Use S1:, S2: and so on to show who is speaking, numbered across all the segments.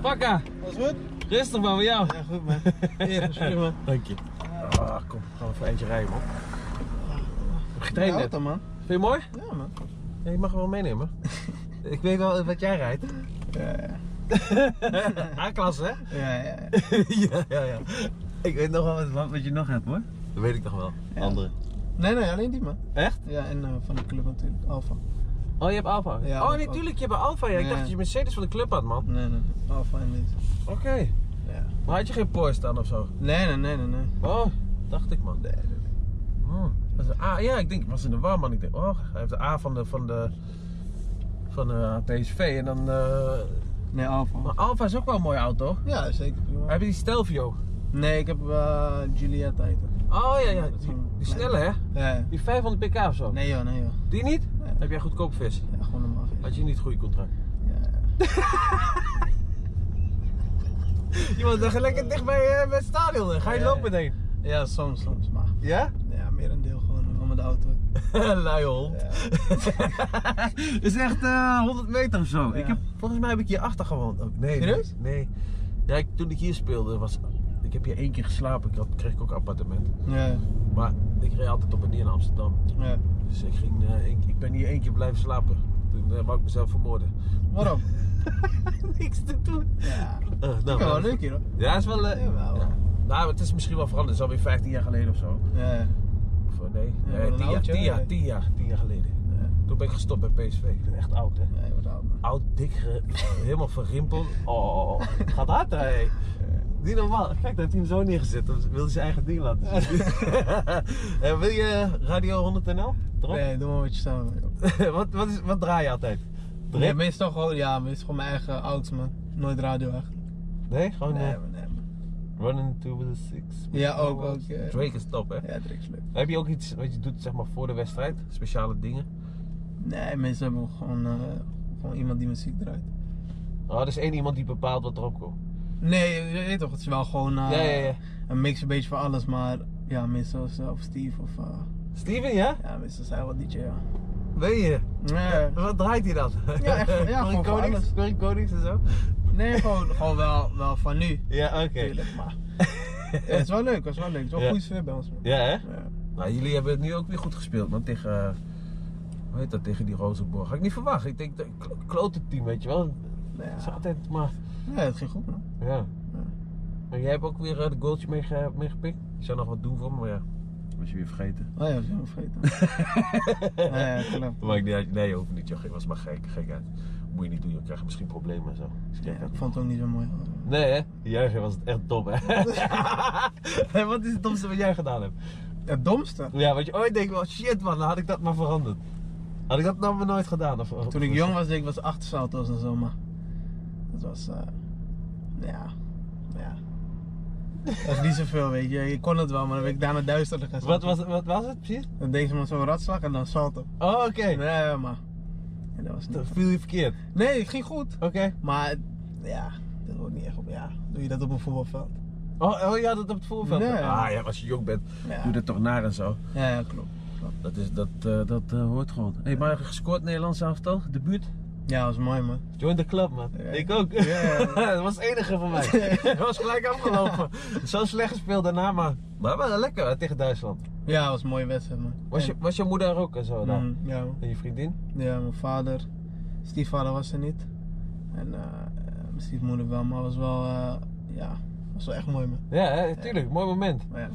S1: Pakka,
S2: Was goed?
S1: rustig man, bij jou.
S2: Ja, goed man. Ja, sorry man.
S1: Dank je. Ah, kom, gaan we even eentje rijden man. Heb je getraind
S2: Ja,
S1: net?
S2: auto, man.
S1: Vind je het mooi?
S2: Ja, man.
S1: Ja, je mag hem wel meenemen. Ik weet wel wat jij rijdt.
S2: Ja,
S1: A-klasse hè?
S2: ja, ja.
S1: ja, ja, ja.
S3: Ik weet nog wel wat, wat, wat je nog hebt hoor.
S1: Dat weet ik nog wel.
S2: Ja.
S1: Andere.
S2: Nee, nee, alleen die, man.
S1: Echt?
S2: Ja, en eh, van de club natuurlijk, Alfa.
S1: Oh, je hebt Alfa?
S2: Ja,
S1: oh,
S2: dat
S1: nee,
S2: ook.
S1: tuurlijk, je hebt een Alfa. Ja. Ik
S2: Ja.
S1: dacht dat je Mercedes van de club had, man.
S2: Nee, nee, Alfa en deze.
S1: Oké.
S2: Ja.
S1: Maar had je geen Porsche dan of zo?
S2: Nee, nee, nee, nee, nee.
S1: Oh, dacht ik, man.
S2: Nee, nee, nee.
S1: Hmm. Dat is een A. Ja, ik denk, ik was in de war, man. Ik denk, oh, hij heeft de A van de, van de, van de eh, PSV. En dan, eh,
S2: Nee, Alfa.
S1: maar Alfa is ook wel een mooie auto.
S2: Ja, zeker prima.
S1: Heb je die Stelvio?
S2: Nee, ik heb eh Giulietta heet het.
S1: Oh, ja, ja.
S2: Dat is
S1: Die,
S2: een
S1: die
S2: klein-
S1: snelle, hè?
S2: Ja, ja.
S1: Die 500 pk of zo.
S2: Nee joh, nee joh.
S1: Die niet?
S2: Nee.
S1: Heb jij goedkoop vis?
S2: Ja, gewoon normaal.
S1: Had je niet een goede contract?
S2: Ja, ja.
S1: Iemand dacht lekker dicht bij, eh, bij het stadion. hè? Ga je
S2: Ja,
S1: lopen
S2: ja.
S1: heen?
S2: ja, soms, soms. Maar
S1: Ja?
S2: ja, meer een deel gewoon om de auto.
S1: Lui hond.
S2: Ja.
S3: Het is echt eh, 100 meter of zo.
S2: Ja.
S3: Ik heb,
S1: Volgens mij heb ik hier achter gewoond ook. Nee.
S2: Serieus?
S1: Nee. nee. Ja, ik- toen ik hier speelde was... Ik heb hier één keer geslapen. Ik had, kreeg ik ook een appartement.
S2: Ja,
S1: Maar ik reed altijd op en neer in Amsterdam.
S2: ja.
S1: Dus ik, ging, eh, ik, ik ben hier één keer blijven slapen. Toen eh, wou ik mezelf vermoorden.
S2: Waarom?
S1: Niks te doen.
S2: Ja. Ik
S1: Eh,
S2: vind
S1: nou,
S2: het wel leuk hier hoor.
S1: Ja, is wel... eh,
S2: Jawel.
S1: ja. Nou, het is misschien wel veranderd. Het is alweer 15 jaar geleden of zo.
S2: Ja, ja.
S1: Of, eh, nee,
S2: Ja,
S1: nee,
S2: wel een
S1: 10 jaar,
S2: oudje,
S1: 10 jaar,
S2: hè?
S1: 10 jaar, 10 jaar geleden.
S2: Ja.
S1: Toen ben ik gestopt bij PSV. Ik ben echt oud, hè.
S2: Ja, je wordt oud man.
S1: oud, dik, ge- helemaal verrimpeld. Oh, het gaat hard, hé. Niet normaal. Kijk, daar heeft hij hem zo neergezet. Dan wil hij zijn eigen ding laten zien. Eh, wil je Radio 100NL? Erop?
S2: Nee, doe maar wat je samen wil. joh.
S1: wat, wat, is, wat draai je altijd? Drip?
S2: Nee, meestal gewoon, ja, meestal gewoon mijn eigen ouds man. Nooit radio echt.
S1: Nee, gewoon eh,
S2: Nee, man, nee. man.
S1: Running to the Six.
S2: Ja, ook, ook. Ja,
S1: Drake is top, hè?
S2: ja Drake is leuk.
S1: Heb je ook iets wat je doet zeg maar, voor de wedstrijd? Speciale dingen?
S2: Nee, meestal hebben we gewoon, eh, gewoon iemand die muziek draait.
S1: Oh, er is één iemand die bepaalt wat erop komt.
S2: Nee, je weet toch, het is wel gewoon eh,
S1: ja, ja, ja.
S2: een mix een beetje van alles, maar ja, meestal is het of Steve of eh,
S1: Steven, ja?
S2: ja, meestal zijn wel DJ, ja.
S1: Ben je?
S2: Nee,
S1: Wat draait hij dan?
S2: Ja, echt, ja,
S1: Corrie
S2: gewoon voor
S1: Konings,
S2: alles.
S1: Corrie Konings en zo?
S2: nee gewoon, gewoon wel, wel van nu,
S1: Ja, oké.
S2: natuurlijk, maar Ja, het is wel leuk, het is wel leuk, het is wel
S1: Ja.
S2: een goede sfeer bij ons. man.
S1: Ja, hè?
S2: Ja.
S1: Nou, jullie hebben het nu ook weer goed gespeeld, man. Tegen, eh, hoe heet dat, tegen die Rozenborg. Had ik niet verwacht. Ik denk, dat kl- klote team, weet je wel.
S2: Nee,
S1: Het is
S2: ja.
S1: altijd maar,
S2: Nee, het ging goed man.
S1: ja. Maar jij hebt ook weer eh, de goaltje meege- meegepikt. Je zou nog wat doen voor me, maar ja.
S3: was je weer vergeten.
S2: Oh ja, dat is helemaal vergeten. nee, ja, klopt.
S1: Maar ik niet uit. Nee, je hoeft niet, joh. Je was maar gek, gek uit. Moet je niet doen, je krijgt misschien problemen en zo. Dus kijk
S2: Ja,
S1: uit.
S2: ik vond het ook niet zo mooi.
S1: Nee, hè? Juichen was het echt dom, hè? en wat is het domste wat jij gedaan hebt?
S2: Het domste,
S1: Ja, wat je ooit denkt, wel, shit man, had ik dat maar veranderd. Had ik dat nou maar nooit gedaan? Of,
S2: toen ik jong was, deed ik was achtersalto's en zo, maar dat was, eh, ja, ja. Dat is niet zoveel, weet je. Ik kon het wel, maar dan ben ik daarna duister gaan
S1: Wat
S2: salten.
S1: was, het- wat was het precies?
S2: Dan deed ze me zo'n ratslag en dan salto.
S1: Oh, oké.
S2: Nee, maar. Ja, dat was
S1: Dat
S2: niet.
S1: viel je verkeerd.
S2: Nee, het ging goed.
S1: Oké.
S2: Maar ja, dat wordt niet echt op. Ja, doe je dat op een voetbalveld?
S1: Oh, oh, je had het op het voorveld.
S2: Nee.
S1: Ah ja, als je jong bent,
S2: Ja,
S3: Doe dat toch naar en zo.
S2: ja, ja, klopt.
S3: Dat, is, dat, eh, dat eh, hoort gewoon. Hé, hey, maar gescoord Nederlands elftal, de buurt.
S2: Ja, dat was mooi, man.
S1: Join the club, man.
S2: Ja.
S1: Ik ook.
S2: Ja.
S1: dat was het enige van mij. Het was gelijk afgelopen. Zo slecht gespeeld daarna, maar. Maar wel lekker hè, tegen Duitsland.
S2: Ja, dat was een mooie wedstrijd, man.
S1: Was, je, was je moeder er ook en zo?
S2: En-
S1: daar?
S2: Mm, ja, man.
S1: En je vriendin?
S2: ja, mijn vader, stiefvader was er niet. En eh, eh, mijn stiefmoeder wel, maar was wel, eh, ja, was wel echt mooi, man.
S1: Ja, hè, tuurlijk. Mooi moment.
S2: Maar ja,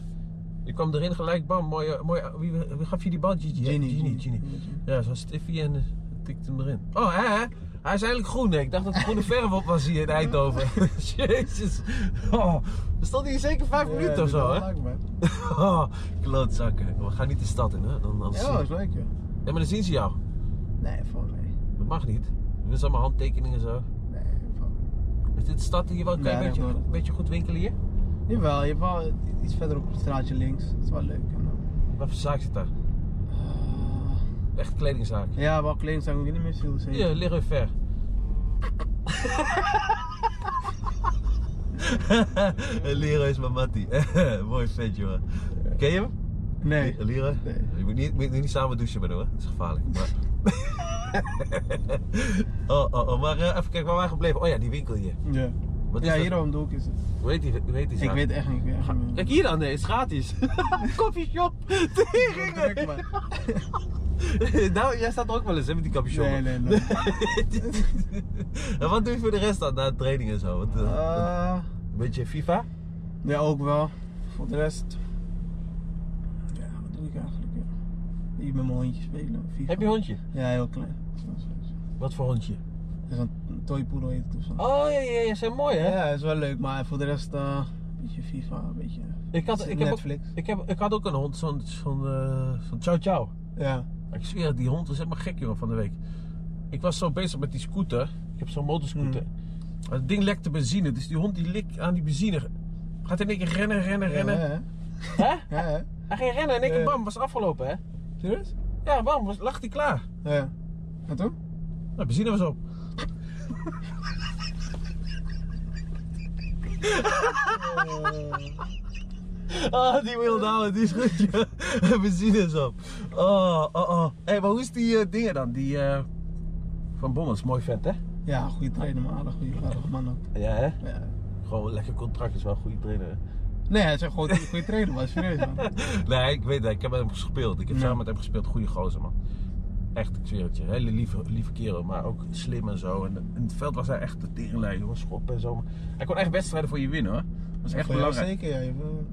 S1: Je kwam erin gelijk, bam. Mooi, mooi, wie, wie gaf je die bal? Gigi. hè?
S2: Ginny.
S1: Gini. Gini. Ja, zo'n stiffie en eh, tikte hem erin. Oh, hè, hè? Hij is eigenlijk groen, hè? Ik dacht dat het groene verf op was hier in Eindhoven. Jezus. Oh, we stonden hier zeker vijf
S2: Ja,
S1: minuten of
S2: doe
S1: zo,
S2: wel
S1: hè?
S2: leuk, man.
S1: Oh, klootzakken. We gaan niet de stad in, hè? Dan, dan
S2: Ja,
S1: zien-
S2: dat was leuk, joh.
S1: Ja, maar dan zien ze jou.
S2: Nee, voor mij.
S1: Dat mag niet. We zijn allemaal handtekeningen en zo.
S2: Nee, voor mij.
S1: Is dit de stad hier wel? Kan je
S2: Nee,
S1: een beetje,
S2: dat-
S1: een beetje goed winkelen hier?
S2: Jawel, je hebt wel iets verder op het straatje links. Dat is wel leuk. En dan,
S1: Wat voor zaak zit daar?
S2: eh,
S1: Echt kledingzaak.
S2: ja, wel kledingzaak, ik weet niet meer hoe ze heet.
S1: Hier, Leroy Ver. Leroy is mijn mattie. Mooi vent, jongen. Ken je hem?
S2: Nee.
S1: Leroy?
S2: Nee.
S1: Je moet niet, moet niet samen douchen met hem, hoor. Dat is gevaarlijk. Maar... oh, oh, oh, maar eh, even kijken waar wij gebleven. Oh ja, die winkel hier.
S2: Ja.
S1: Wat is
S2: Ja,
S1: dat?
S2: hierom doe ik is het.
S1: Hoe heet die, hoe heet die
S2: Ik
S1: zaak?
S2: weet echt niet. Ik weet echt niet meer.
S1: Kijk hier aan, nee, is gratis. Koffieshop,
S2: Druk,
S1: teringen.
S2: man.
S1: nou, jij staat er ook wel eens hè, met die capuchon.
S2: Nee, nee, nee.
S1: En wat doe je voor de rest dan, na de training en zo? Wat, eh,
S2: Eh,
S1: een beetje FIFA?
S2: ja, ook wel. Voor de rest. Ja, wat doe ik eigenlijk? Ja. Hier met mijn hondje spelen. FIFA.
S1: Heb je een hondje?
S2: Ja, heel klein. Zo, zo, zo.
S1: Wat voor hondje?
S2: Het is een toypoedel heet het of zo.
S1: Oh ja, ja, ja, zijn mooi hè?
S2: Ja, is wel leuk, maar voor de rest. eh, een beetje FIFA, een beetje.
S1: Ik had, ik, heb ook,
S2: Netflix.
S1: ik, heb, ik had ook een hond, zo'n zo'n eh, zo'n Chow Chow.
S2: Ja.
S1: Ik zweer, het, die hond is helemaal gek jongen van de week. Ik was zo bezig met die scooter. Ik heb zo'n motorscooter. Maar Het ding lekte benzine, dus die hond die likt aan die benzine. Gaat in één keer rennen, rennen, rennen.
S2: Ja, hè?
S1: Hè?
S2: Ja, hè?
S1: Hij ging rennen en ik
S2: Ja.
S1: bam, was afgelopen hè.
S2: Serieus?
S1: Ja, bam, was, lag hij klaar.
S2: Ja. En toen?
S1: Nou, benzine was op. Ah, die wil nou, die is goed. ja. Benzine is op. Oh, oh, oh. Hé, hey, maar hoe is die eh, dingen dan? Die eh, van Bommels, mooi vet hè?
S2: Ja, goede trainer, maar aardig, goede aardig man ook.
S1: Ja, hè?
S2: Ja.
S1: Gewoon een lekker contract is wel een goede trainer. hè?
S2: Nee, hij is echt gewoon een goede trainer, maar serieus man.
S1: Nee, ik weet dat. Ik heb met hem gespeeld. Ik heb
S2: Ja.
S1: samen met hem gespeeld. Goede gozer, man. Echt, ik zweer het je. Hele lieve, lieve kerel, maar ook slim en zo. En in het veld was hij echt de tegenlijn, jongen. Schop en zo. Maar Hij kon echt wedstrijden voor je winnen, hoor. Dat is echt
S2: Voor jou
S1: belangrijk.
S2: Zeker, ja. Je, wil-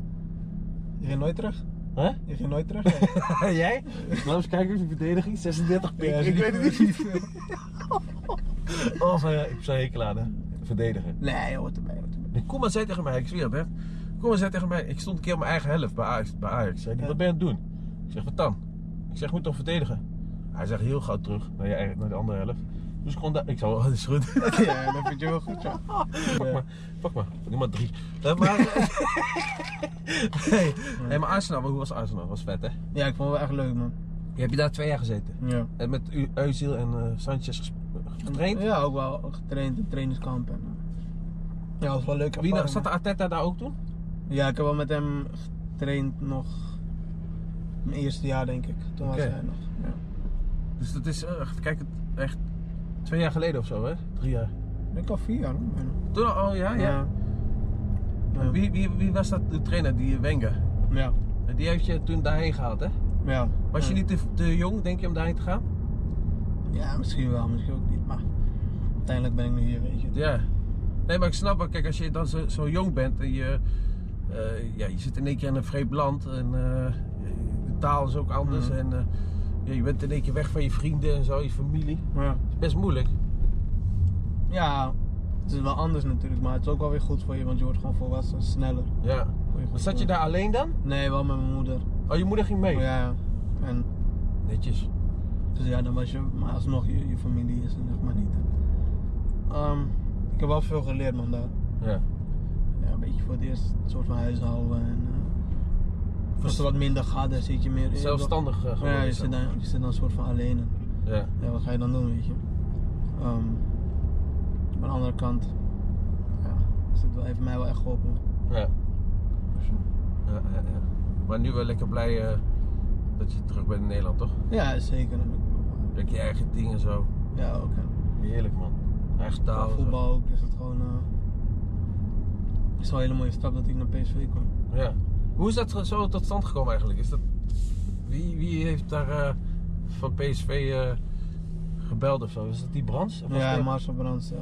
S2: je ging nooit terug.
S1: Huh?
S2: Je ging nooit terug. Ja.
S1: Jij? Laat eens kijken of je verdediging 36 pik.
S2: Ja,
S1: ik weet het niet.
S2: veel.
S1: Of eh, ik heb zo'n hekel aan, hè. Verdedigen.
S2: Nee, hoort erbij, hoort erbij.
S1: Nee, Koeman zei tegen mij, ik zweer het, hè. Koeman zei tegen mij, ik stond een keer op mijn eigen helft bij Ajax. Bij Ajax. Zei die,
S2: Ja.
S1: wat ben je aan het doen? Ik zeg, wat dan? Ik zeg, moet toch verdedigen? Hij zegt heel gauw terug naar, je, eigen- naar de andere helft. Dus ik gewoon daar, ik zou, oh, dat is goed.
S2: Ja, dat vind je wel goed, ja.
S1: Pak maar, pak maar. Doe maar drie. Eh, maar, nee. nee, maar Arsenal, hoe was Arsenal? Was vet, hè?
S2: Ja, ik vond het wel echt leuk, man.
S1: Heb je daar twee jaar gezeten?
S2: Ja.
S1: En met U- Özil en eh, Sanchez ges- getraind?
S2: Ja, ook wel getraind in trainingskamp. En, eh, ja, was wel leuk.
S1: Wie nou, zat de Arteta daar ook toen?
S2: Ja, ik heb wel met hem getraind nog mijn eerste jaar, denk ik. Toen was
S1: Oké.
S2: hij nog. Ja.
S1: Dus dat is, eh, echt, kijk, het- echt twee jaar geleden of zo, hè? Drie jaar.
S2: Ik denk al vier jaar, hoor, bijna.
S1: Toen, al- oh ja, ja.
S2: Ja.
S1: Wie, wie, wie was dat, de trainer, die eh, Wenger?
S2: Ja.
S1: Die heeft je toen daarheen gehaald, hè?
S2: ja.
S1: Was je
S2: Ja.
S1: niet te, te jong, denk je, om daarheen te gaan?
S2: Ja, misschien wel, misschien ook niet. Maar uiteindelijk ben ik nu hier, weet je.
S1: Ja. Nee, maar ik snap wel, kijk, als je dan zo, zo jong bent en je, eh, ja, je zit in één keer in een vreemd land en eh, de taal is ook anders
S2: Mhm.
S1: en eh, ja, je bent in één keer weg van je vrienden en zo, je familie.
S2: Ja.
S1: Het is best moeilijk.
S2: ja, het is wel anders natuurlijk, maar het is ook wel weer goed voor je, want je wordt gewoon volwassen, sneller.
S1: Ja.
S2: Voor
S1: Maar zat je daar alleen dan?
S2: Nee, wel met mijn moeder.
S1: Oh, je moeder ging mee?
S2: Ja, ja. En
S1: Netjes.
S2: Dus ja, dan was je, maar alsnog je, je familie is er nog maar niet. Ehm, ik heb wel veel geleerd man daar.
S1: Ja.
S2: Ja, een beetje voor het eerst een soort van huishouden en eh, als er wat minder gaat, dan zit je meer in.
S1: Zelfstandig eh, geworden.
S2: Ja, je
S1: zo.
S2: zit, dan, je zit dan een soort van alleen. En,
S1: Ja.
S2: ja, wat ga je dan doen, weet je? Ehm, maar aan de andere kant, ja, is het wel, heeft mij wel echt geholpen.
S1: Ja. Ja, ja, ja. Maar nu wel lekker blij eh, dat je terug bent in Nederland, toch?
S2: Ja, zeker. eh,
S1: Lekker je eigen ding en zo.
S2: Ja, ook. en
S1: Heerlijk, man. Eigen taal.
S2: Qua
S1: en zo.
S2: voetbal ook, is het gewoon. eh, het is wel een hele mooie stap dat ik naar PSV kwam.
S1: Ja. Hoe is dat zo tot stand gekomen eigenlijk? Is dat... wie, wie heeft daar eh, van PSV eh, gebeld of zo? Is dat die Brands? Of was
S2: Ja,
S1: dat-
S2: Marcel Brands. eh,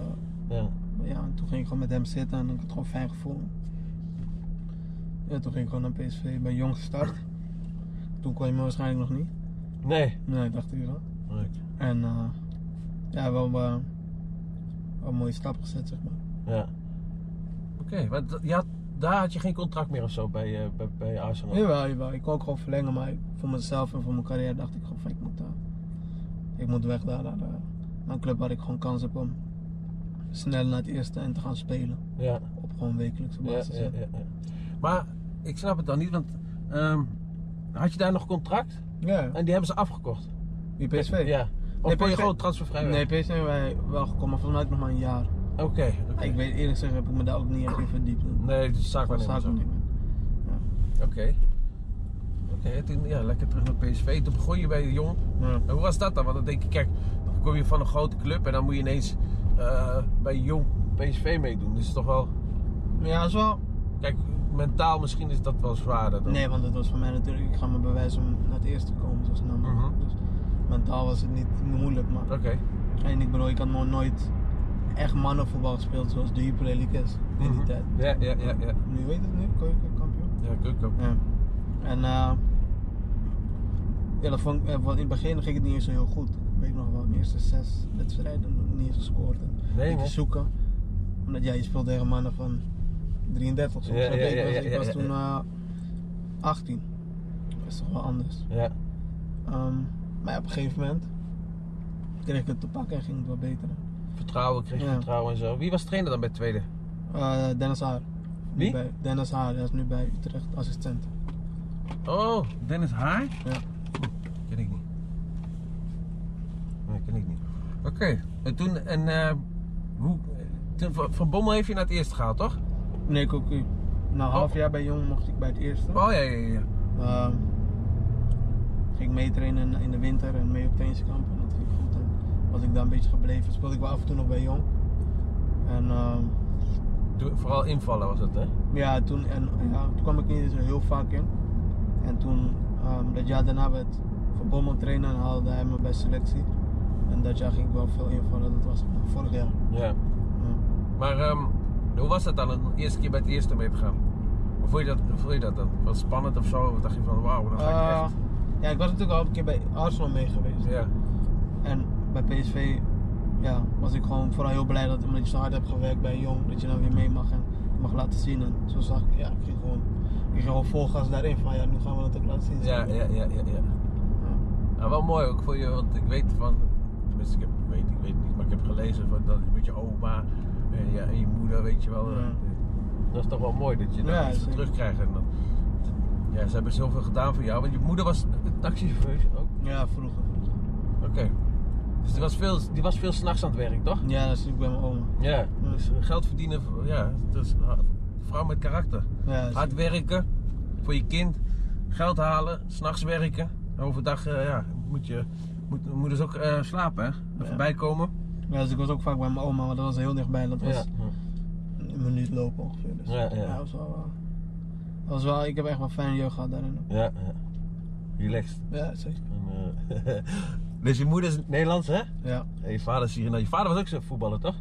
S1: Ja.
S2: ja, en toen ging ik gewoon met hem zitten en ik had gewoon fijn gevoel. Ja, toen ging ik gewoon naar PSV bij Jong gestart. Toen kwam je me waarschijnlijk nog niet.
S1: Nee.
S2: Nee, dacht ik wel.
S1: Leuk.
S2: En eh, ja, wel, eh, wel een mooie stap gezet, zeg maar.
S1: Ja. Oké, maar dat- je had- daar had je geen contract meer of zo bij, eh, bij, bij Arsenal?
S2: Jawel, jawel. Ik kon ook gewoon verlengen, maar ik- voor mezelf en voor mijn carrière dacht ik gewoon van ik moet, eh, ik moet weg daar naar, eh, naar een club waar ik gewoon kans heb om snel naar het eerste en te gaan spelen.
S1: Ja.
S2: Op gewoon wekelijkse
S1: Ja,
S2: basis.
S1: ja,
S2: hè.
S1: ja, ja. Maar ik snap het dan niet, want ehm, had je daar nog contract?
S2: Ja,
S1: En die hebben ze afgekocht.
S2: die PSV.
S1: Ja. Of
S2: Nee,
S1: kon je
S2: PSV
S1: gewoon transfervrij weg?
S2: Nee, PSV hebben wij wel gekomen, maar volgens mij ook nog maar een jaar.
S1: Oké. oké.
S2: Ik weet eerlijk gezegd heb ik me daar ook niet echt in verdiept.
S1: Nee, dat is zaak
S2: dat
S1: wel
S2: staat
S1: niet.
S2: ook niet meer.
S1: Oké. Oké, toen ja, lekker terug naar PSV. Toen begon je bij de jong.
S2: Ja.
S1: En hoe was dat dan? Want dan denk je, kijk, dan kom je van een grote club en dan moet je ineens eh, bij jong PSV meedoen. Dus toch wel.
S2: Ja, is wel.
S1: Kijk, mentaal misschien is dat wel zwaarder. Dan.
S2: Nee, want het was voor mij natuurlijk, ik ga me bewijzen om naar het eerste te komen zo snel mogelijk.
S1: Mhm.
S2: Dus mentaal was het niet moeilijk, maar.
S1: Oké.
S2: En ik bedoel, ik had nog nooit echt mannenvoetbal gespeeld zoals de Jupiler League is in die
S1: Mhm.
S2: tijd.
S1: Ja, ja, ja, ja.
S2: Nu weet het nu, keukenkampioen.
S1: Ja, keuken.
S2: Ja. En eh ja, dat vond ik, eh, want in het begin ging het niet eens zo heel goed. Ik weet nog wel, de eerste zes wedstrijden niet eens gescoord. En
S1: Nee,
S2: een
S1: man.
S2: keer zoeken. Omdat ja, je speelt tegen mannen van 33 soms.
S1: Ja,
S2: Snap
S1: ja,
S2: je? ik
S1: ja,
S2: was,
S1: ja,
S2: ik
S1: ja,
S2: was
S1: ja.
S2: toen eh, 18. Dat is toch wel anders.
S1: Ja.
S2: Ehm, maar ja, op een gegeven moment kreeg ik het te pakken en ging het wat beter.
S1: Vertrouwen, kreeg je
S2: Ja.
S1: vertrouwen en zo. Wie was trainer dan bij het tweede?
S2: Eh, Dennis Haar. Nu
S1: Wie?
S2: Bij, Dennis Haar, dat is nu bij Utrecht assistent.
S1: Oh,
S3: Dennis Haar?
S1: ken ik niet. Nee, ken ik niet. Oké. En toen, en eh, hoe, toen, Van Van Bommel heeft je naar het eerst gehaald, toch?
S2: Nee, ik ook. niet. Na een half jaar bij Jong mocht ik bij het eerste.
S1: Oh ja, ja, ja, ja.
S2: Ehm, ging meetrainen in de winter en mee op trainingskamp en dat ging goed. En was ik daar een beetje gebleven. Speelde ik wel af en toe nog bij Jong. En ehm,
S1: Toen- Vooral invallen was het, hè?
S2: ja, toen, en, ja, toen kwam ik niet zo heel vaak in. En toen, ehm, dat jaar daarna werd Van Bommel trainen en haalde hij me bij selectie. En dat jaar ging ik wel veel invallen, dat was vorig jaar.
S1: Ja.
S2: Ja.
S1: Maar ehm, hoe was dat dan, de eerste keer bij het eerste mee te gaan? Hoe voel je dat, hoe voel je dat dan? Was het spannend of zo? Of dacht je van, wauw, dan ga ik
S2: Eh,
S1: echt...
S2: ja, ik was natuurlijk al een keer bij Arsenal mee geweest.
S1: Ja,
S2: En bij PSV ja, was ik gewoon vooral heel blij dat omdat je zo hard hebt gewerkt bij Jong, dat je dan weer mee mag en je mag laten zien. En zo zag ik, ja, ik ging gewoon, ik ging gewoon vol gas daarin van ja, nu gaan we dat ook laten zien.
S1: ja, ja, ja, ja. ja. Nou, wel mooi ook voor je, want ik weet van, tenminste ik, heb, ik weet, ik weet het niet, maar ik heb gelezen van dat met je oma en je, en je moeder, weet je wel.
S2: Ja.
S1: eh, Dat is toch wel mooi dat je dat iets
S2: Ja,
S1: voor
S2: zeker.
S1: terugkrijgt. En dan, ja, ze hebben zoveel gedaan voor jou, want je moeder was een taxichauffeur ook.
S2: Ja, vroeger.
S1: Oké. Dus die was veel, die was veel s'nachts aan het werk, toch?
S2: Ja, dat is natuurlijk bij mijn oma.
S1: Ja.
S2: Ja.
S1: Dus geld verdienen, voor- ja, dat is een vrouw met karakter.
S2: Ja, dat is-
S1: Hard werken voor je kind, geld halen, s'nachts werken. Overdag eh, ja, moet je moet, moet dus ook eh, slapen, hè? Er
S2: Ja.
S1: voorbij komen.
S2: ja, dus ik was ook vaak bij mijn oma, want dat was heel dichtbij. Dat was
S1: Dus-
S2: een minuut lopen ongeveer. Dus.
S1: Ja, ja.
S2: dat was wel, eh, dat was wel, ik heb echt wel fijne jeugd gehad daarin. ook.
S1: ja. Relaxed.
S2: Ja, zeker.
S1: dus je moeder is Nederlands, hè?
S2: Ja.
S1: En je vader is Suriname. Je vader was ook zo'n voetballer, toch?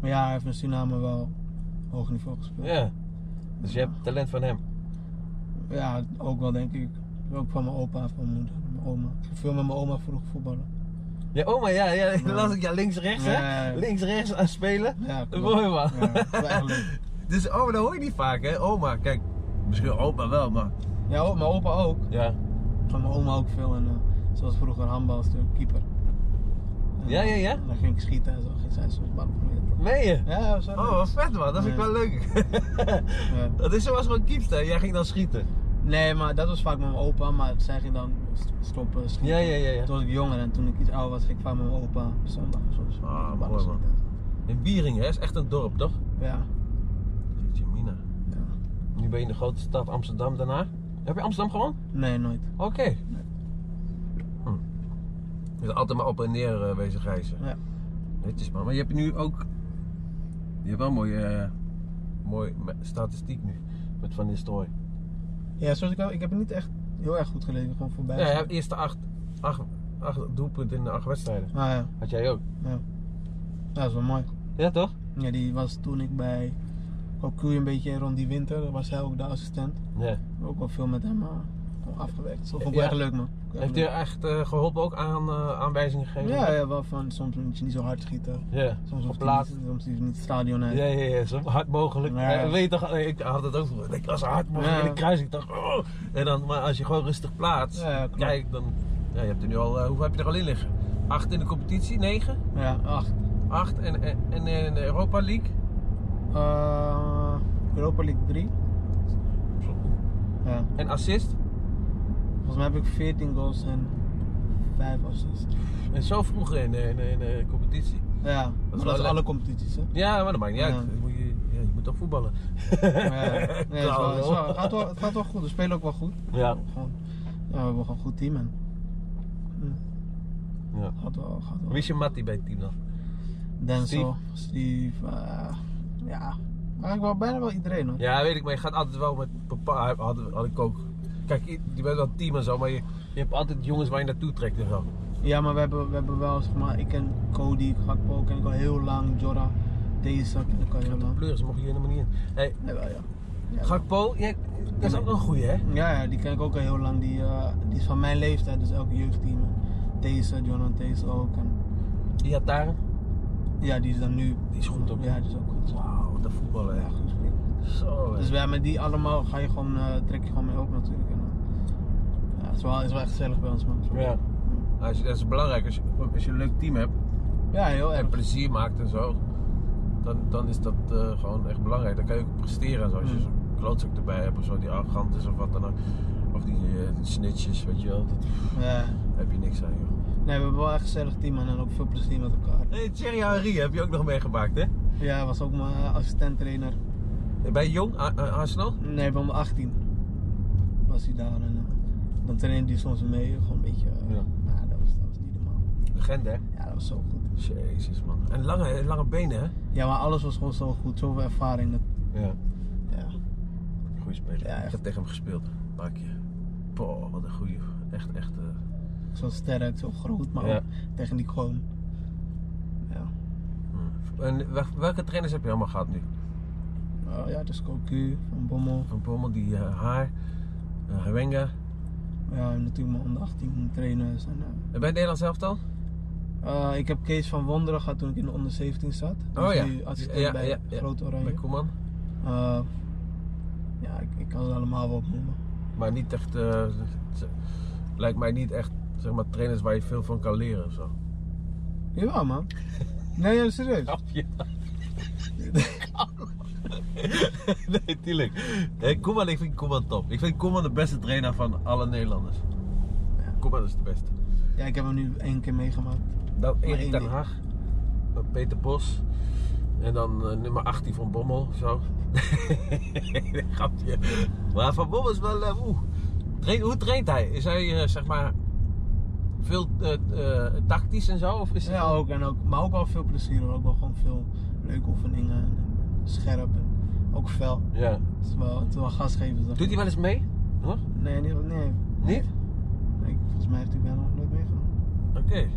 S2: Maar ja, hij heeft in Suriname wel hoog niveau gespeeld.
S1: Ja. Dus je hebt talent van hem.
S2: Ja, ook wel denk ik. Ook van mijn opa, van mijn moeder, van mijn oma. Ik heb veel met mijn oma vroeg voetballen.
S1: Ja, oma, ja, ja.
S2: Ja.
S1: Las ik ja, links-rechts,
S2: Ja,
S1: hè?
S2: ja.
S1: Links-rechts aan spelen.
S2: Ja, klopt.
S1: Mooi, man.
S2: Ja, dat is wel echt leuk.
S1: Dus oma, dat hoor je niet vaak, hè? Oma, kijk. Misschien opa wel, maar...
S2: Ja, ook, mijn opa ook.
S1: Ja.
S2: Van mijn oma ook veel. En eh, zoals vroeger handbal, is natuurlijk keeper. En,
S1: Ja, ja, ja.
S2: en dan ging ik schieten en zo. Ging zij soms ballen proberen.
S1: Meen je?
S2: Ja, zo.
S1: Oh, wat vet man, dat vind ik
S2: Ja.
S1: wel leuk.
S2: Ja.
S1: dat is zoals gewoon kiepster, jij ging dan schieten.
S2: Nee, maar dat was vaak met mijn opa. Maar zij ging dan st- stoppen, schieten.
S1: Ja, ja, ja. ja.
S2: Toen was ik jonger en toen ik iets ouder was, ging ik vaak met mijn opa. op Zondag of zo. dus
S1: Ah,
S2: ballen
S1: mooi, man.
S2: schieten.
S1: In Wieringen, hè, is echt een dorp toch?
S2: Ja.
S1: Jeetje, Mina.
S2: ja.
S1: Nu ben je in de grote stad Amsterdam daarna. Heb je Amsterdam gewoond?
S2: Nee, nooit.
S1: Oké. Hm. Je bent altijd maar op en neer eh, wezen reizen.
S2: Ja.
S1: Netjes man, maar je hebt nu ook... Je hebt wel een mooie, eh, mooie me- statistiek nu. Met Van Nistelrooy.
S2: Ja, zoals ik al, ik heb het niet echt heel erg goed gelezen. Gewoon voorbij.
S1: Ja, je hebt eerste acht, acht, acht doelpunten in de acht wedstrijden.
S2: Ah ja,
S1: Had jij ook.
S2: Ja, dat is wel mooi.
S1: Ja toch?
S2: Ja, die was toen ik bij Kokui een beetje rond die winter, was hij ook de assistent.
S1: Ja.
S2: Ook wel veel met hem eh, gewoon afgewerkt. Dat vond ik
S1: Ja.
S2: wel echt leuk man. Ook echt
S1: Heeft hij
S2: leuk.
S1: echt eh, geholpen ook aan eh, aanwijzingen gegeven?
S2: ja, ja, wel van soms moet je niet zo hard schieten.
S1: Ja,
S2: Soms hoeft hij
S1: geplaatst.
S2: niet, soms hoeft hij niet het stadion uit.
S1: Ja, ja, ja, zo hard mogelijk.
S2: Ja, ja.
S1: Eh, weet je toch, eh, ik had het ook vroeger. Ik was zo hard mogelijk
S2: Ja.
S1: in de kruising. Ik dacht, oh. En dan, maar als je gewoon rustig plaatst,
S2: Ja, ja, klopt.
S1: kijk, dan. Ja, je hebt er nu al, eh, hoeveel heb je er al in liggen? Acht in de competitie, negen,
S2: Ja, acht.
S1: acht en, en, en in de Europa League.
S2: Eh, Europa League 3. Ja.
S1: En assist.
S2: Volgens mij heb ik 14 goals en 5 assists.
S1: En zo vroeg in, de- in, de- in de competitie.
S2: Ja, maar
S1: wel
S2: dat is
S1: leuk.
S2: alle competities hè.
S1: Ja, maar dat maakt niet
S2: Ja.
S1: uit. Je moet, je, ja, je moet toch voetballen.
S2: Ja, nee, het, is wel, het, is wel- het gaat wel, het gaat wel goed. We spelen ook wel goed.
S1: Ja.
S2: Gewoon, ja, we hebben gewoon een goed team en
S1: Ja.
S2: gaat wel, gaat wel.
S1: Wie is je mattie bij het team dan?
S2: Denzel, Steve, eh, ja. Eigenlijk wel bijna wel iedereen hoor.
S1: Ja, weet ik, maar je gaat altijd wel met papa. Had, had ik ook. Kijk, i- je bent wel team en zo, maar je, je hebt altijd jongens waar je naartoe trekt en zo.
S2: Ja, maar we hebben, we hebben wel, zeg maar, ik ken Cody, Gakpo ken ik al heel lang, Jorah, deze ken ik al heel lang.
S1: Pleuris mocht je helemaal niet in. Hey,
S2: Jawel, ja. Ja.
S1: Gakpo, jij- dat is ook wel een goeie, hè?
S2: Ja, ja, die ken ik ook al heel lang. Die, eh, die is van mijn leeftijd, dus elke jeugdteam. Deze, Jonathan Deze ook. En,
S1: Die had daar.
S2: ja, die is dan nu.
S1: Die is goed ook.
S2: Ja, die is ook goed.
S1: Wauw, wat een voetballer,
S2: Ja,
S1: hè?
S2: goed speler.
S1: Zo, hè.
S2: Dus ja, met die allemaal ga je gewoon, eh, trek je gewoon mee op natuurlijk. En, eh, ja, het is wel, het is wel echt gezellig bij ons, man.
S1: Ja. Als je, dat is belangrijk. Als je, als je een leuk team hebt
S2: Ja, heel
S1: en
S2: erg.
S1: plezier maakt en zo, dan, dan is dat eh, gewoon echt belangrijk. Dan kan je ook presteren en zo. Als je
S2: Mm.
S1: zo'n klootzak erbij hebt of zo, die arrogant is of wat dan ook. Of die eh, snitches, weet je wel. Dat,
S2: Ja.
S1: heb je niks aan, joh.
S2: Nee, we hebben wel echt een gezellig team man, en ook veel plezier met elkaar.
S1: Hey, Thierry Henry heb je ook nog meegemaakt, hè?
S2: Ja, hij was ook mijn eh, assistent trainer.
S1: Bij Jong, A- A- Arsenal?
S2: Nee, bij mijn 18 was hij daar. En, eh, dan trainde hij soms mee, gewoon een beetje. eh,
S1: Ja.
S2: nou, dat, was, dat was niet normaal.
S1: Legende, hè?
S2: Ja, dat was zo goed.
S1: Jezus, man. En lange, lange benen, hè?
S2: Ja, maar alles was gewoon zo goed, zoveel ervaring. Dat,
S1: Ja.
S2: ja.
S1: Goeie speler.
S2: Ja, echt.
S1: ik heb tegen hem gespeeld. Pak je. Boah, wat een goeie. Echt, echt. eh,
S2: Zo sterk, zo groot, maar
S1: Ja.
S2: ook techniek gewoon. Ja,
S1: mm. En wel- welke trainers heb je allemaal gehad nu?
S2: Eh, ja dus Cocu, Van Bommel.
S1: Van Bommel, die eh, Haar, eh, Hawenga.
S2: Ja, en natuurlijk mijn onder 18 trainers. En, eh,
S1: En bij Nederland zelf dan?
S2: eh, ik heb Kees van Wonderen gehad toen ik in de onder 17 zat. Die
S1: Oh
S2: is
S1: ja.
S2: nu assistent
S1: Ja,
S2: bij
S1: ja, ja.
S2: Groot Oranje.
S1: Bij Koeman.
S2: Eh, ja, ik, ik kan ze allemaal wel opnoemen.
S1: Maar niet echt, eh, ze- lijkt mij niet echt, zeg maar, trainers waar je veel van kan leren of zo.
S2: Jawel man. Nee, ja,
S1: Oh.
S2: serieus.
S1: nee, tuurlijk. Hey, Koeman, ik vind Koeman top. Ik vind Koeman de beste trainer van alle Nederlanders.
S2: Ja.
S1: Koeman is de beste.
S2: Ja, ik heb hem nu één keer meegemaakt.
S1: Dan Nou, Erik
S2: één
S1: ten
S2: ding.
S1: Hag, dan Peter Bos en dan eh, nummer 18 van Bommel, zo. Grapje. Maar Van Bommel is wel... eh, oeh. Train- hoe traint hij? Is hij, eh, zeg maar, veel eh, eh, tactisch en zo? Of is hij
S2: Ja, ook, en ook, maar ook wel veel plezier hoor. Ook wel gewoon veel leuke oefeningen. En, en scherp en ook fel.
S1: Ja.
S2: Het is wel, het is wel gasgevend.
S1: Doet hij wel eens mee? Hoor?
S2: Nee, nee, nee.
S1: Niet?
S2: Nee, volgens mij heeft hij bijna nog nooit meegedaan.
S1: Oké.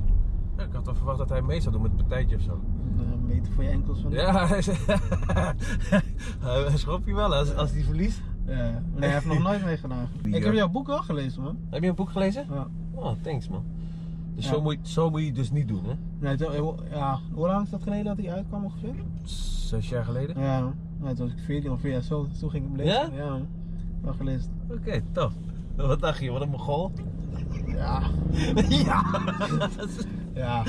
S1: Ja, ik had wel verwacht dat hij mee zou doen met een partijtje of zo.
S2: Een eh, meter voor je enkels van.
S1: Ja, hij is- hij schrop je wel als, als hij verliest.
S2: Ja. Nee, hij heeft nog nooit meegedaan.
S1: Die,
S2: Ik heb
S1: eh,
S2: jouw boek wel gelezen, man.
S1: Heb je een boek gelezen?
S2: Ja.
S1: Oh, thanks man. Dus
S2: Ja.
S1: zo, moet je, zo moet je het dus niet doen, hè?
S2: Nee, het- eh, ja. Hoe lang is dat geleden dat hij uitkwam ongeveer?
S1: Zes jaar geleden?
S2: Ja, nou, toen was ik 14 of ja, zo, zo ging ik hem lezen. Ja? man. wel gelezen.
S1: Oké, tof. Wat dacht je, wat een mogol?
S2: Ja,
S1: ja!
S2: ja.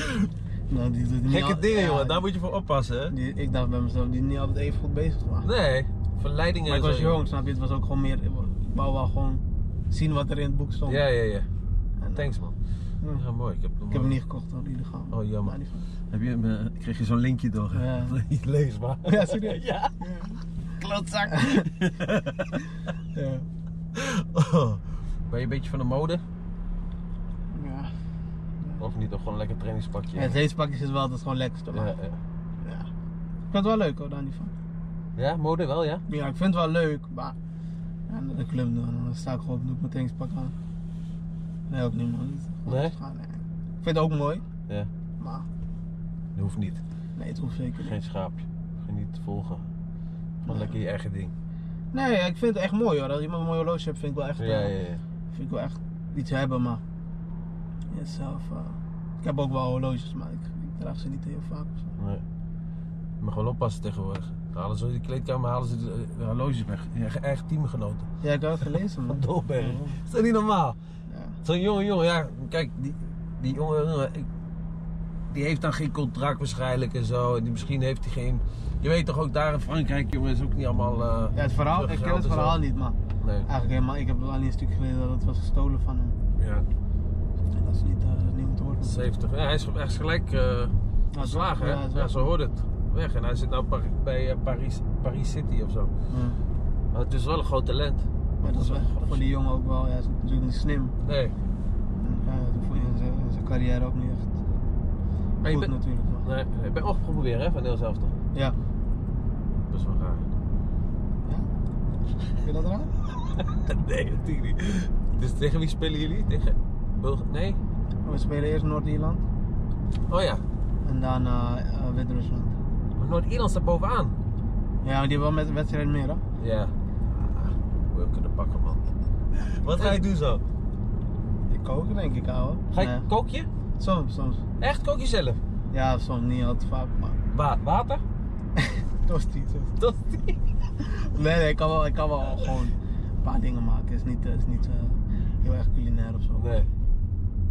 S2: Nou, die doet niet
S1: Gekke
S2: al-
S1: dingen,
S2: ja,
S1: jongen. Daar moet je voor oppassen, hè?
S2: die, Ik dacht bij mezelf, die is niet altijd even goed bezig, maar.
S1: Nee, verleidingen
S2: Maar ik
S1: en
S2: was
S1: zo,
S2: jong, snap je? Het was ook gewoon meer. Ik wou wel gewoon zien wat er in het boek stond.
S1: jongen. Ja, ja, ja.
S2: En, eh,
S1: Thanks, man.
S2: ja.
S1: Ja, mooi. Ik heb,
S2: Ik heb hem niet gekocht hoor, illegaal.
S1: Oh, jammer.
S2: Maar niet van-
S3: Heb je, hem, eh, kreeg je zo'n linkje door?
S2: Ja.
S1: niet lees, maar.
S2: Ja, serieus?
S1: ja.
S2: Klootzak! ja.
S1: Oh. Ben je een beetje van de mode?
S2: Ja.
S1: Of niet? Of gewoon een lekker trainingspakje?
S2: ja. Deze pakjes is wel altijd gewoon lekker te
S1: ja,
S2: maken.
S1: ja.
S2: Ja. Ik vind het wel leuk hoor, daar niet van.
S1: Ja, mode wel, ja?
S2: Ja, ik vind het wel leuk, maar. Ja, naar de club dan, dan sta ik gewoon op, doe ik mijn trainingspak aan. Nee, ook niet man.
S1: Nee?
S2: Het is gewoon- nee. Ik vind het ook mooi,
S1: Ja.
S2: maar
S1: Dat hoeft niet.
S2: nee, het hoeft zeker niet.
S1: Geen schaapje. Geen niet te volgen. Gewoon
S2: Nee.
S1: lekker je eigen ding.
S2: Nee, ik vind het echt mooi hoor. Als iemand een mooi horloge hebt, vind ik wel echt.
S1: Ja,
S2: eh,
S1: ja, ja.
S2: Vind ik wel echt iets hebben, maar. ja, zelf. eh, ik heb ook wel horloges, maar ik, ik draag ze niet heel vaak. of zo.
S1: Nee. Je mag wel oppassen tegenwoordig. Dan Halen ze in de kleedkamer halen ze de, eh, de horloges weg. Je eigen- eigen teamgenoten.
S2: Ja, ik had het gelezen, man.
S1: Dolberg.
S2: Ja,
S1: Is dat niet normaal?
S2: ja.
S1: Zo'n jonge jongen, ja, kijk, die, die jonge jongen, ik- die heeft dan geen contract waarschijnlijk en zo. En die, misschien heeft hij geen. Je weet toch ook daar in Frankrijk, jongen, is ook niet allemaal. eh,
S2: Ja, het verhaal, ik ken
S1: geld
S2: het
S1: en zo.
S2: verhaal niet, maar
S1: Nee.
S2: eigenlijk helemaal. Ik heb alleen een stuk gelezen dat het was gestolen van hem.
S1: Ja,
S2: En dat is niet, eh, niet moeten worden.
S1: 70. Ja, hij is, hij is gelijk eh
S2: Ja,
S1: geslagen,
S2: ja,
S1: hè?
S2: het is
S1: Ja,
S2: wel-
S1: zo hoort het. Weg. En hij zit nou Par- bij eh, Paris, Paris City of zo.
S2: Ja.
S1: Maar het is wel een groot talent.
S2: Maar dat is wel voor die jongen ook wel, ja, is natuurlijk niet slim.
S1: Nee.
S2: En, Ja, dat hoeft in zijn, in zijn carrière ook niet echt.
S3: Maar je
S2: goed
S3: bent-
S2: natuurlijk. maar-
S1: Nee, ik ben opgeprobeerd weer hè, van heel zelf toch.
S2: Ja.
S1: Best wel raar.
S2: ja. Vind je dat raar?
S1: nee, natuurlijk niet. Dus tegen wie spelen jullie? Tegen Bulg... Nee?
S2: We spelen eerst Noord-Ierland
S1: Oh ja,
S2: en daarna eh, Wit-Rusland.
S1: maar Noord-Ierland staat bovenaan.
S2: Ja, maar die hebben wel met wedstrijd meer, hè?
S1: Ja. Ah, we kunnen pakken man. Wat ga je doen zo?
S2: Ik koken denk ik, ouwe.
S1: Ga je
S2: Nee.
S1: kook je?
S2: Soms, soms.
S1: Echt kook je zelf?
S2: Ja, soms niet altijd vaak, maar
S1: Wa- water?
S2: tosties. hè.
S1: Dat
S2: Nee, nee, ik kan wel, ik kan wel gewoon een paar dingen maken. Het is niet, eh, is niet eh, heel erg culinair of zo.
S1: Nee.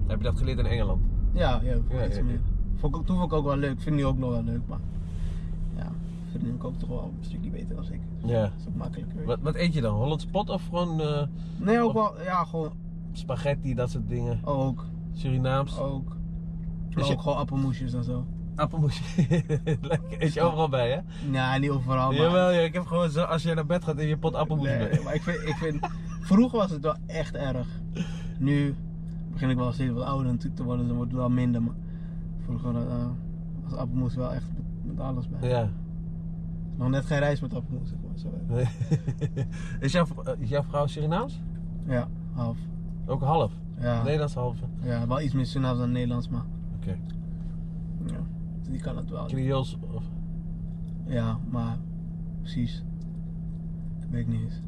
S1: Heb je dat geleerd in Engeland?
S2: Ja, ja, voor
S1: Ja,
S2: iets
S1: ja, ja.
S2: meer. Vond ik, toen vond ik ook wel leuk. Vind nu ook nog wel leuk, maar ja, vind ik ook toch wel een stukje beter dan ik.
S1: Ja.
S2: Dat is ook makkelijker.
S1: Wat, wat eet je dan? Hollands pot of gewoon eh,
S2: Nee, ook wel, ja, gewoon
S1: spaghetti, dat soort dingen?
S2: ook,
S1: Surinaams?
S3: Oh.
S2: ook.
S1: Is
S2: Maar
S1: je-
S2: ook gewoon appelmoesjes en zo.
S1: Appelmoesje. Lekker.
S3: Oh.
S1: Eet je overal bij, hè?
S2: Ja, niet overal, maar...
S1: Jawel, ja, ik heb gewoon zo, als je naar bed gaat, in je pot appelmoes
S2: Nee,
S1: mee.
S2: maar ik vind, ik vind, vroeger was het wel echt erg. Nu begin ik wel steeds wat ouder natuurlijk te worden, dus dan wordt het wel minder. Maar vroeger eh, was appelmoes wel echt met, met alles bij.
S1: Ja.
S2: Nog net geen reis met appelmoes, zeg maar. Zo.
S1: is, jouw, eh, is jouw vrouw Surinaams?
S2: Ja, half.
S1: Ook half?
S2: Ja,
S1: Nederlands half. Oké.
S2: ja, wel iets meer Surinaams dan Nederlands, maar ja, die kan het wel.
S1: Creools of...
S2: Ja, maar precies. Dat weet ik niet eens.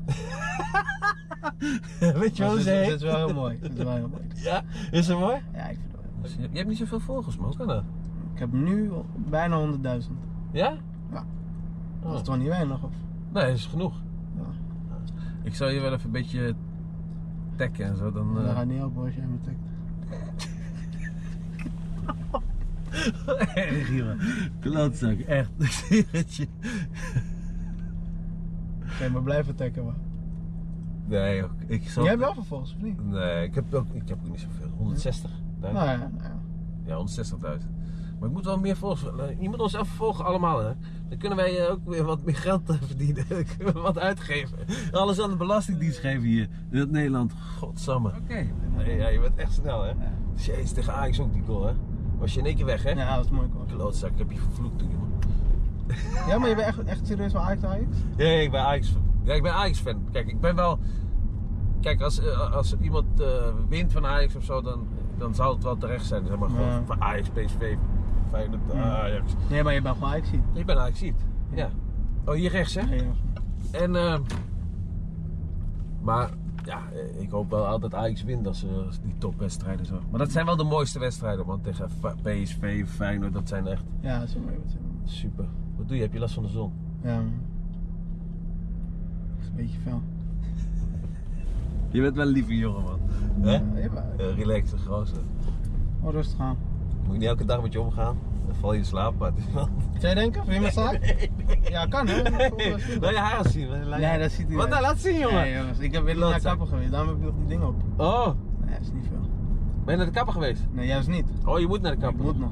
S1: Weet je wel hoe
S2: Maar Het
S1: ze
S2: is- het
S1: heet?
S2: is wel heel mooi. Het is wel heel mooi.
S1: Ja? Is ze mooi?
S2: Ja, ik vind het wel. heel mooi.
S3: Dus Je hebt niet zoveel volgers, man.
S1: Hoe kan dat?
S2: Ik heb nu bijna 100.000.
S1: Ja?
S2: Ja. Dat
S1: Oh.
S2: is toch niet weinig? Of?
S1: Nee, is genoeg.
S2: Ja.
S3: Ik zou je wel even een beetje taggen en zo. Dan, eh,
S2: Dat gaat niet helpen als jij me tikt.
S3: Erg, jongen. Klootzak, echt. Serietje.
S2: Oké, maar blijf attacken man.
S1: Nee, joh, ik zal...
S2: Jij hebt wel vervolgens, of niet?
S1: Nee, ik heb ook, ik heb ook niet zoveel. 160.
S2: Nou ja, nou ja.
S1: Ja, 160.000. Maar ik moet wel meer volgen. Je moet ons even volgen allemaal, hè. Dan kunnen wij eh, ook weer wat meer geld eh, verdienen. Dan kunnen we wat uitgeven.
S3: Alles aan de Belastingdienst geven hier. In het Nederland.
S1: Godsamme.
S3: Oké.
S1: Nee, ja, je bent echt snel, hè. Jezus, tegen Ajax ook die goal, hè. Was je in één keer weg, hè?
S2: Ja, dat is mooi hoor.
S1: Klootzak, ik heb je vervloekt toen, jongen.
S2: Ja, maar je bent echt, echt serieus van Ajax Ajax?
S1: Ja, ja, ik ben Ajax. Ja, ik ben Ajax fan. Kijk, ik ben wel. Kijk, als, eh, als iemand eh, wint van Ajax of zo, dan, dan zou het wel terecht zijn. Zeg maar gewoon
S2: Ja.
S1: van Ajax, PSV, Feyenoord,
S2: Ja.
S1: Ajax.
S2: Nee, maar je bent gewoon Ajax
S1: Ik ben Ajax ziet. Ja. Oh, hier rechts, hè?
S2: Nee, ja.
S1: En, eh, maar ja, eh, ik hoop wel altijd Ajax wint als eh, als die topwedstrijden zo. Maar dat zijn wel de mooiste wedstrijden, man. Tegen F- PSV, Feyenoord, dat zijn echt
S2: ja, dat is wel mooi wat je doet.
S1: super. Wat doe je? Heb je last van de zon?
S2: Ja. man. Dat is een beetje fel.
S3: Je bent wel een lieve jongen, man.
S1: Hè?
S2: Ja, je bent-
S1: Eh, relaxed, gozer.
S2: Oh, rustig aan.
S1: Moet je niet elke dag met je omgaan? Dan val je in slaap, maar het is wel...
S2: Zou je denken? Vind je me slaap? Ja, kan hè?
S1: Wil je haar eens zien? Wil je laten-
S2: Nee, dat ziet hij
S1: Wat
S2: niet.
S1: nou, laat zien, jongen.
S2: Nee, jongens, ik heb weer naar
S1: Klootzak.
S2: kapper geweest, daarom heb ik nog die dingen op.
S1: Oh,
S2: Nee, dat is niet veel.
S1: ben je naar de kapper geweest?
S2: Nee, juist niet.
S1: Oh, je moet naar de
S2: Ik
S1: kapper.
S2: moet nog.